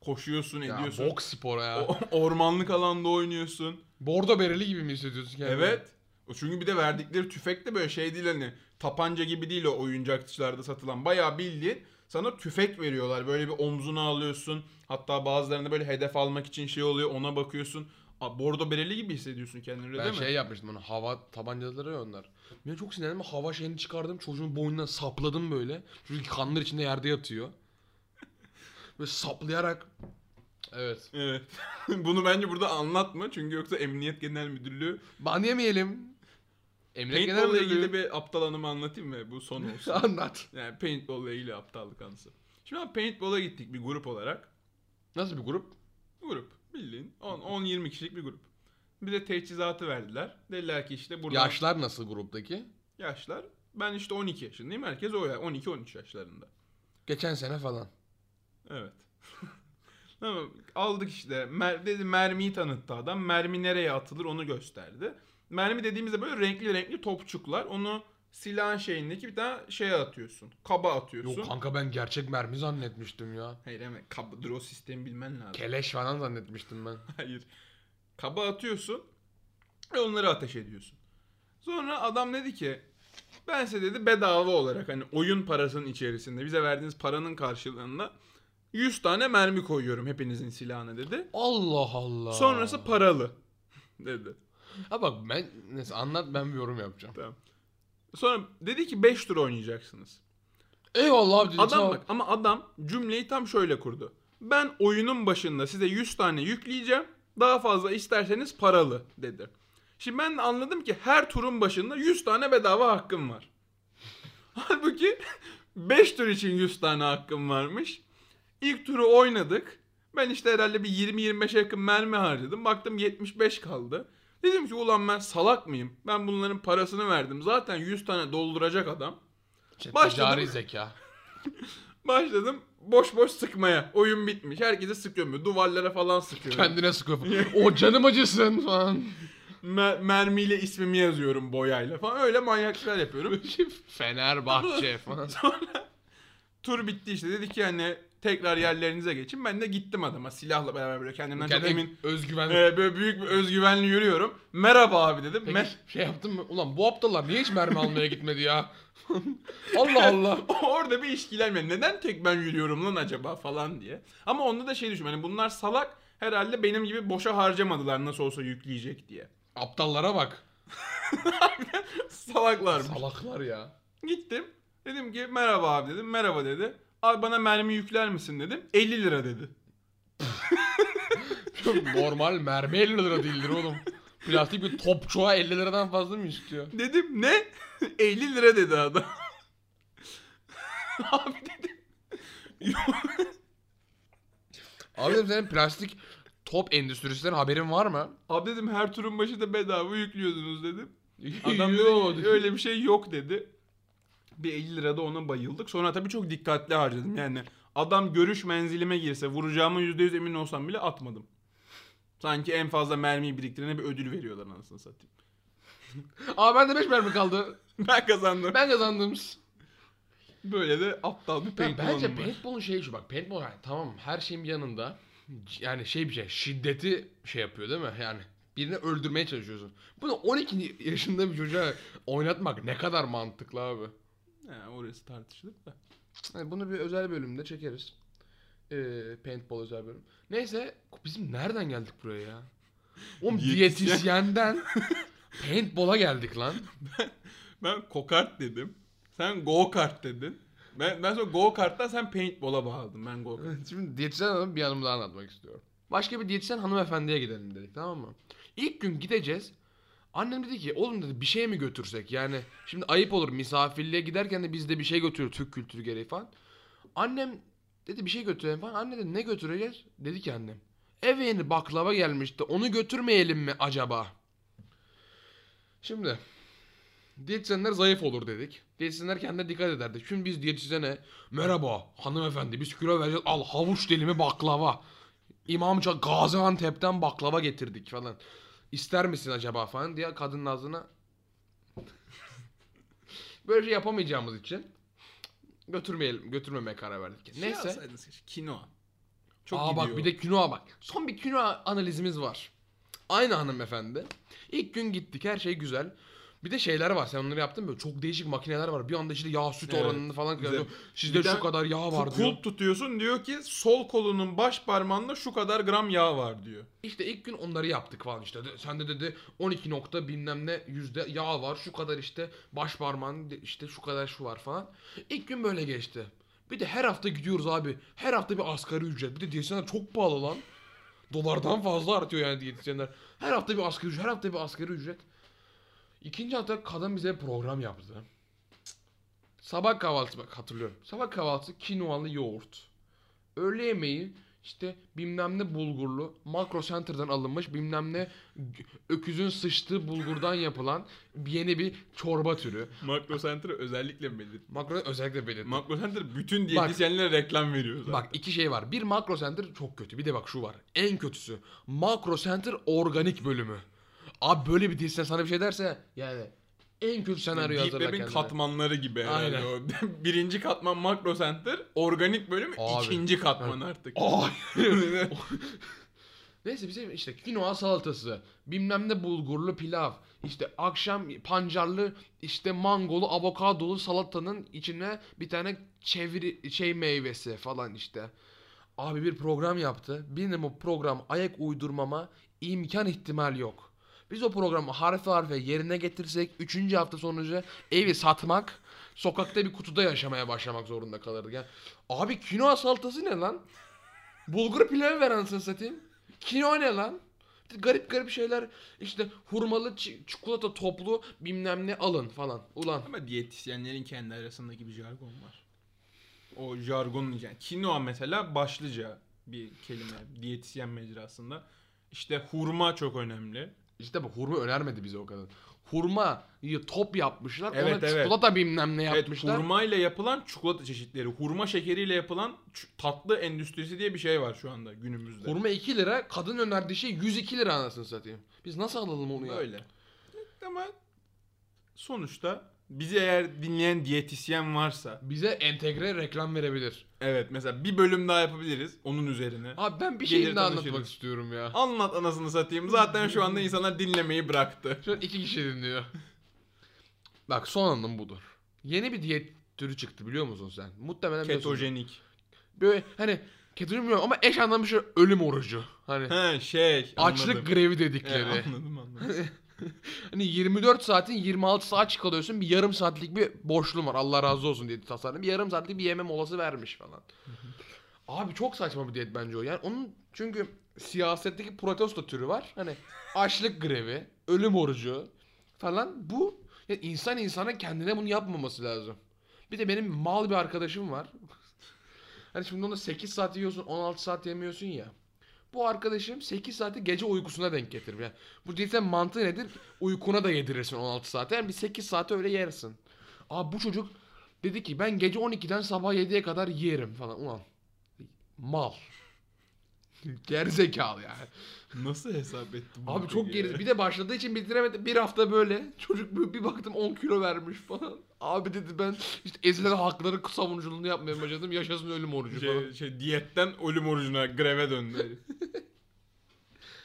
Speaker 1: Koşuyorsun,
Speaker 2: Ya,
Speaker 1: ediyorsun.
Speaker 2: bok sporu ya.
Speaker 1: O- ormanlık alanda oynuyorsun.
Speaker 2: Bordo bereli gibi mi hissediyorsun kendini?
Speaker 1: Evet. O Çünkü bir de verdikleri tüfek de böyle şey değil hani tapanca gibi değil o oyuncakçılarda satılan. Bayağı bildiğin sana tüfek veriyorlar. Böyle bir omzuna alıyorsun. Hatta bazılarında böyle hedef almak için şey oluyor ona bakıyorsun. Aa, bordo bereli gibi hissediyorsun kendini öyle
Speaker 2: Ben
Speaker 1: değil mi?
Speaker 2: şey yapmıştım onu hava tabancaları ya onlar. Ben çok sinirlendim hava şeyini çıkardım çocuğun boynuna sapladım böyle. Çocuk kanlar içinde yerde yatıyor. Böyle saplayarak. Evet.
Speaker 1: Evet. Bunu bence burada anlatma çünkü yoksa Emniyet Genel Müdürlüğü
Speaker 2: Ban yemeyelim. Emlak Genel
Speaker 1: paintball'la ilgili
Speaker 2: Müdürlüğü.
Speaker 1: bir aptal anımı anlatayım mı? Bu son olsun.
Speaker 2: Anlat.
Speaker 1: yani paintball'la ilgili aptallık anısı. Şimdi abi paintball'a gittik bir grup olarak.
Speaker 2: Nasıl bir grup?
Speaker 1: Grup. Bildiğin 10 10 20 kişilik bir grup. Bize teçhizatı verdiler. Dediler ki işte burada
Speaker 2: Yaşlar nasıl gruptaki?
Speaker 1: yaşlar. Ben işte 12 yaşındayım. Herkes o ya 12 13 yaşlarında.
Speaker 2: Geçen sene falan.
Speaker 1: Evet. Tamam, aldık işte. Mer dedi mermiyi tanıttı adam. Mermi nereye atılır onu gösterdi. Mermi dediğimizde böyle renkli renkli topçuklar. Onu silahın şeyindeki bir tane şeye atıyorsun. Kaba atıyorsun.
Speaker 2: Yok kanka ben gerçek mermi zannetmiştim ya.
Speaker 1: Hayır hemen kaba dur o sistemi bilmen lazım.
Speaker 2: Keleş falan zannetmiştim ben.
Speaker 1: Hayır. Kaba atıyorsun ve onları ateş ediyorsun. Sonra adam dedi ki ben size dedi bedava olarak hani oyun parasının içerisinde bize verdiğiniz paranın karşılığında 100 tane mermi koyuyorum hepinizin silahına dedi.
Speaker 2: Allah Allah.
Speaker 1: Sonrası paralı dedi.
Speaker 2: Ha bak ben neyse anlat ben bir yorum yapacağım.
Speaker 1: Sonra dedi ki 5 tur oynayacaksınız.
Speaker 2: Eyvallah abi dedi.
Speaker 1: Adam
Speaker 2: tamam.
Speaker 1: bak ama adam cümleyi tam şöyle kurdu. Ben oyunun başında size 100 tane yükleyeceğim. Daha fazla isterseniz paralı dedi. Şimdi ben de anladım ki her turun başında 100 tane bedava hakkım var. Halbuki 5 tur için 100 tane hakkım varmış. İlk turu oynadık. Ben işte herhalde bir 20-25'e yakın mermi harcadım. Baktım 75 kaldı. Dedim ki ulan ben salak mıyım? Ben bunların parasını verdim. Zaten 100 tane dolduracak adam.
Speaker 2: İşte
Speaker 1: başladım.
Speaker 2: Şey, Ticari zeka.
Speaker 1: Başladım boş boş sıkmaya. Oyun bitmiş. Herkese sıkıyorum. böyle Duvarlara falan sıkıyorum.
Speaker 2: Kendine sıkıyor. o canım acısın falan.
Speaker 1: Me- mermiyle ismimi yazıyorum boyayla falan. Öyle manyaklar yapıyorum.
Speaker 2: Fenerbahçe falan.
Speaker 1: Sonra tur bitti işte. Dedi ki hani tekrar yerlerinize geçin. Ben de gittim adama silahla beraber böyle kendimden
Speaker 2: Kendine
Speaker 1: çok emin.
Speaker 2: özgüven.
Speaker 1: e, böyle büyük bir özgüvenle yürüyorum. Merhaba abi dedim.
Speaker 2: Peki,
Speaker 1: Me-
Speaker 2: şey yaptın mı? Ulan bu aptallar niye hiç mermi almaya gitmedi ya? Allah Allah.
Speaker 1: Orada bir işkilenme. Neden tek ben yürüyorum lan acaba falan diye. Ama onda da şey düşünüyorum. Hani bunlar salak. Herhalde benim gibi boşa harcamadılar nasıl olsa yükleyecek diye.
Speaker 2: Aptallara bak.
Speaker 1: Salaklarmış.
Speaker 2: Salaklar ya.
Speaker 1: Gittim. Dedim ki merhaba abi dedim. Merhaba dedi. Abi bana mermi yükler misin dedim. 50 lira dedi.
Speaker 2: Normal mermi 50 lira değildir oğlum. Plastik bir topçuğa 50 liradan fazla mı istiyor?
Speaker 1: Dedim ne? 50 lira dedi adam. abi dedim.
Speaker 2: Abi dedim senin plastik top endüstrisinden haberin var mı?
Speaker 1: Abi dedim her turun başı da bedava yüklüyordunuz dedim. Adam
Speaker 2: Adam
Speaker 1: dedi ki,
Speaker 2: diyor.
Speaker 1: öyle bir şey yok dedi. Bir 50 lirada ona bayıldık. Sonra tabii çok dikkatli harcadım. Yani adam görüş menzilime girse vuracağıma %100 emin olsam bile atmadım. Sanki en fazla mermiyi biriktirene bir ödül veriyorlar anasını satayım.
Speaker 2: Aa bende 5 mermi kaldı.
Speaker 1: Ben kazandım.
Speaker 2: Ben kazandım.
Speaker 1: Böyle de aptal bir
Speaker 2: Ben,
Speaker 1: paintball
Speaker 2: bence
Speaker 1: anı var.
Speaker 2: paintball'un şeyi şu bak. Paintball yani tamam her şeyin bir yanında yani şey bir şey şiddeti şey yapıyor değil mi? Yani birini öldürmeye çalışıyorsun. Bunu 12 yaşında bir çocuğa oynatmak ne kadar mantıklı abi.
Speaker 1: He, orası tartışılır da.
Speaker 2: Yani bunu bir özel bölümde çekeriz. Ee, paintball özel bölüm. Neyse bizim nereden geldik buraya ya? Oğlum
Speaker 1: Diyetisyen.
Speaker 2: diyetisyenden paintball'a geldik lan.
Speaker 1: Ben kokart dedim. Sen go kart dedin. Ben, ben sonra go karttan sen paintball'a bağladın. Ben go kart.
Speaker 2: Şimdi diyetisyen hanım bir anımı daha anlatmak istiyorum. Başka bir diyetisyen hanımefendiye gidelim dedik tamam mı? İlk gün gideceğiz. Annem dedi ki oğlum dedi bir şey mi götürsek? Yani şimdi ayıp olur misafirliğe giderken de biz de bir şey götürür Türk kültürü gereği falan. Annem dedi bir şey götürelim falan. Anne dedi ne götüreceğiz? Dedi ki annem. Eve yeni baklava gelmişti onu götürmeyelim mi acaba? Şimdi Diyetisyenler zayıf olur dedik. Diyetisyenler kendine dikkat ederdi. Şimdi biz diyetisyene merhaba hanımefendi biz kilo vereceğiz al havuç dilimi baklava. İmam Ça- Gaziantep'ten baklava getirdik falan. İster misin acaba falan diye kadının ağzına böyle şey yapamayacağımız için götürmeyelim götürmemeye karar verdik.
Speaker 1: Şey
Speaker 2: Neyse.
Speaker 1: alsaydınız keşke, Kinoa. Çok
Speaker 2: Aa
Speaker 1: gidiyor.
Speaker 2: bak bir de kinoa bak. Son bir kinoa analizimiz var. Aynı hanımefendi. İlk gün gittik her şey güzel. Bir de şeyler var sen onları yaptın mı? Böyle Çok değişik makineler var. Bir anda işte yağ süt
Speaker 1: Evet,
Speaker 2: oranını falan
Speaker 1: güzel.
Speaker 2: kıyasıyor. Sizde
Speaker 1: Bir de
Speaker 2: şu kadar yağ var
Speaker 1: Kul-
Speaker 2: diyor.
Speaker 1: Kulp tutuyorsun diyor ki sol kolunun baş parmağında şu kadar gram yağ var diyor.
Speaker 2: İşte ilk gün onları yaptık falan işte. De- Sende dedi 12 nokta bilmem ne yüzde yağ var. Şu kadar işte baş parmağın de- işte şu kadar şu var falan. İlk gün böyle geçti. Bir de her hafta gidiyoruz abi. Her hafta bir asgari ücret. Bir de diyetisyenler çok pahalı lan. Dolardan fazla artıyor yani diyetisyenler. Her hafta bir asgari ücret. Her hafta bir asgari ücret. İkinci hafta kadın bize program yaptı. Sabah kahvaltısı bak hatırlıyorum. Sabah kahvaltısı kinoalı yoğurt. Öğle yemeği işte bilmem ne bulgurlu makro center'dan alınmış bilmem ne g- öküzün sıçtığı bulgurdan yapılan yeni bir çorba türü.
Speaker 1: Makro Center'ı özellikle belirtti.
Speaker 2: Makro özellikle belirttim.
Speaker 1: Makro Center bütün diyetisyenlere reklam veriyor zaten.
Speaker 2: Bak iki şey var. Bir makro center çok kötü. Bir de bak şu var. En kötüsü. Makro center organik bölümü. Abi böyle bir diyetisyen sana bir şey derse yani en kötü senaryo
Speaker 1: Deep
Speaker 2: hazırla
Speaker 1: Web'in
Speaker 2: kendine.
Speaker 1: katmanları gibi herhalde
Speaker 2: Aynen.
Speaker 1: o. Birinci katman Makro Center, organik bölüm
Speaker 2: Abi.
Speaker 1: ikinci katman artık.
Speaker 2: Ay. Neyse bizim işte kinoa salatası, bilmem ne bulgurlu pilav, işte akşam pancarlı işte mangolu avokadolu salatanın içine bir tane çeviri şey meyvesi falan işte. Abi bir program yaptı. Benim o program ayak uydurmama imkan ihtimal yok. Biz o programı harfe harfe yerine getirsek 3. hafta sonucu evi satmak, sokakta bir kutuda yaşamaya başlamak zorunda kalırdık. Yani, abi kinoa salatası ne lan? Bulgur pilavı ver anasını satayım. Kinoa ne lan? Bir de Garip garip şeyler işte hurmalı çi- çikolata toplu bilmem ne alın falan. Ulan
Speaker 1: Ama diyetisyenlerin kendi arasındaki bir jargon var. O jargon yani kinoa mesela başlıca bir kelime diyetisyen mecrasında. İşte hurma çok önemli.
Speaker 2: işte bu hurma önermedi bize o kadar. Hurmayı top yapmışlar.
Speaker 1: Evet,
Speaker 2: ona
Speaker 1: evet.
Speaker 2: çikolata bilmem ne
Speaker 1: Evet
Speaker 2: yapmışlar.
Speaker 1: hurmayla yapılan çikolata çeşitleri, hurma şekeriyle yapılan ç- tatlı endüstrisi diye bir şey var şu anda günümüzde.
Speaker 2: Hurma 2 lira, kadın önerdiği şey 102 lira anasını satayım. Biz nasıl alalım onu ya?
Speaker 1: Öyle. Ama sonuçta bizi eğer dinleyen diyetisyen varsa
Speaker 2: Bize entegre reklam verebilir.
Speaker 1: evet mesela bir bölüm daha yapabiliriz onun üzerine.
Speaker 2: Abi ben bir
Speaker 1: Gelir
Speaker 2: şey daha
Speaker 1: tanışırız.
Speaker 2: anlatmak istiyorum ya.
Speaker 1: Anlat anasını satayım. Zaten şu anda insanlar dinlemeyi bıraktı.
Speaker 2: Şu an iki kişi dinliyor. Bak son anım budur. Yeni bir diyet türü çıktı biliyor musun sen? Muhtemelen biliyorsun.
Speaker 1: Ketojenik.
Speaker 2: Böyle hani ketojen bilmiyorum ama eş anlamı şu ölüm orucu. Hani
Speaker 1: He şey.
Speaker 2: açlık
Speaker 1: anladım.
Speaker 2: grevi
Speaker 1: He,
Speaker 2: dedikleri.
Speaker 1: anladım anladım.
Speaker 2: Hani 24 saatin 26 saat çık alıyorsun. Bir yarım saatlik bir boşluğum var. Allah razı olsun diyeti tasarladım. Bir yarım saatlik bir yeme molası vermiş falan. Abi çok saçma bir diyet bence o. Yani onun çünkü siyasetteki protesto türü var. Hani açlık grevi, ölüm orucu falan. Bu ya insan insana kendine bunu yapmaması lazım. Bir de benim mal bir arkadaşım var. hani şimdi onu 8 saat yiyorsun, 16 saat yemiyorsun ya. Bu arkadaşım 8 saati gece uykusuna denk getirir. Yani bu diyetin mantığı nedir? Uykuna da yedirirsin 16 saate. Yani bir 8 saate öyle yersin. Abi bu çocuk dedi ki ben gece 12'den sabah 7'ye kadar yerim falan. Ulan mal. Gerizekalı yani.
Speaker 1: Nasıl hesap ettin? bunu
Speaker 2: Abi çok
Speaker 1: peki ya?
Speaker 2: geri. Bir de başladığı için bitiremedi. Bir hafta böyle. Çocuk bir- bir baktım 10 kilo vermiş falan. Abi dedi ben işte ezilen hakları savunuculuğunu yapmaya başladım. Yaşasın ölüm orucu falan.
Speaker 1: Şey, şey, diyetten ölüm orucuna greve döndü.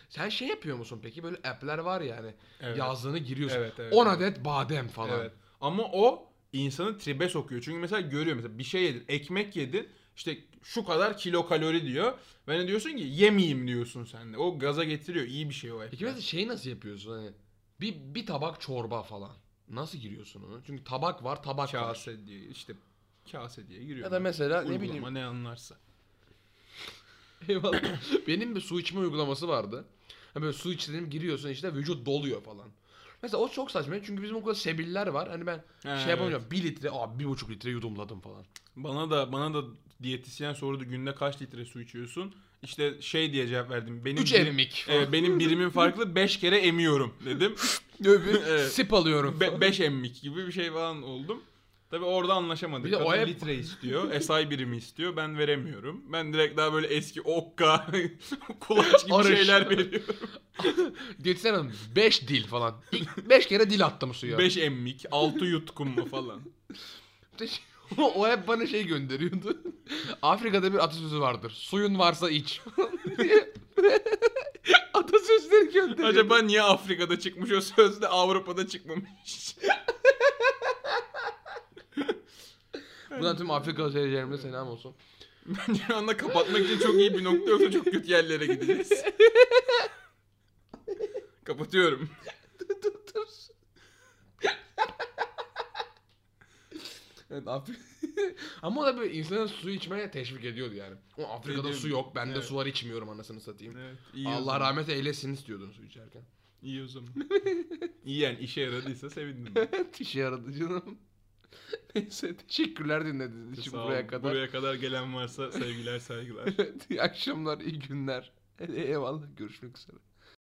Speaker 2: Sen şey yapıyor musun peki? Böyle app'ler var ya hani.
Speaker 1: Evet.
Speaker 2: Yazdığını giriyorsun.
Speaker 1: Evet, evet,
Speaker 2: 10
Speaker 1: evet.
Speaker 2: adet badem falan.
Speaker 1: Evet. Ama o insanı tribe sokuyor. Çünkü mesela görüyor mesela bir şey yedin, ekmek yedin. işte şu kadar kilo kalori diyor. Ve ne diyorsun ki yemeyeyim diyorsun sen de. O gaza getiriyor. İyi bir şey o.
Speaker 2: Peki mesela şeyi nasıl yapıyorsun hani? Bir, bir tabak çorba falan. Nasıl giriyorsun onu? Çünkü tabak var, tabak var.
Speaker 1: kase diye işte kase diye giriyor.
Speaker 2: Ya da mesela ne
Speaker 1: Uygulama
Speaker 2: bileyim
Speaker 1: ne anlarsa.
Speaker 2: Eyvallah. Benim bir su içme uygulaması vardı. Ha böyle su içtim giriyorsun işte vücut doluyor falan. Mesela o çok saçma çünkü bizim okulda sebiller var. Hani ben
Speaker 1: Ha,
Speaker 2: şey yapamıyorum. 1 litre, aa 1,5 litre yudumladım falan.
Speaker 1: Bana da bana da diyetisyen sordu günde kaç litre su içiyorsun? İşte şey diye cevap verdim. Benim
Speaker 2: 3
Speaker 1: birim-
Speaker 2: emik falan.
Speaker 1: Evet, benim birimin farklı 5 kere emiyorum dedim.
Speaker 2: Böyle bir
Speaker 1: Evet.
Speaker 2: Sip alıyorum.
Speaker 1: 5 emmik gibi bir şey falan oldum. Tabi orada anlaşamadık.
Speaker 2: Bir de o
Speaker 1: Kadın
Speaker 2: hep-
Speaker 1: litre istiyor. SI birimi istiyor. Ben veremiyorum. Ben direkt daha böyle eski okka, kulaç gibi
Speaker 2: Arış.
Speaker 1: şeyler veriyorum.
Speaker 2: Diyetisyen hanım 5 dil falan. 5 kere dil attım suya.
Speaker 1: 5 emmik, 6 yutkunma falan.
Speaker 2: o hep bana şey gönderiyordu. Afrika'da bir atasözü vardır. Suyun varsa iç. diye atasözleri gönderiyor.
Speaker 1: Acaba niye Afrika'da çıkmış o sözde Avrupa'da çıkmamış?
Speaker 2: Buradan tüm Afrika seyircilerimize selam olsun.
Speaker 1: Bence şu anda kapatmak için çok iyi bir nokta yoksa çok kötü yerlere gideceğiz. Kapatıyorum.
Speaker 2: Evet Afrika. Ama o da böyle insanı su içmeye teşvik ediyordu yani. O Afrika'da
Speaker 1: Ediyordu.
Speaker 2: su yok. Ben de
Speaker 1: Evet.
Speaker 2: su var içmiyorum anasını satayım.
Speaker 1: Evet, iyi o
Speaker 2: Allah
Speaker 1: zaman.
Speaker 2: rahmet eylesin istiyordun su içerken.
Speaker 1: İyi o zaman. İyi yani işe yaradıysa sevindim.
Speaker 2: İşe yaradı canım. Neyse teşekkürler dinlediğiniz için
Speaker 1: Sağ olun.
Speaker 2: buraya kadar.
Speaker 1: Buraya kadar gelen varsa sevgiler saygılar.
Speaker 2: Evet iyi akşamlar iyi günler. Eyvallah görüşmek üzere.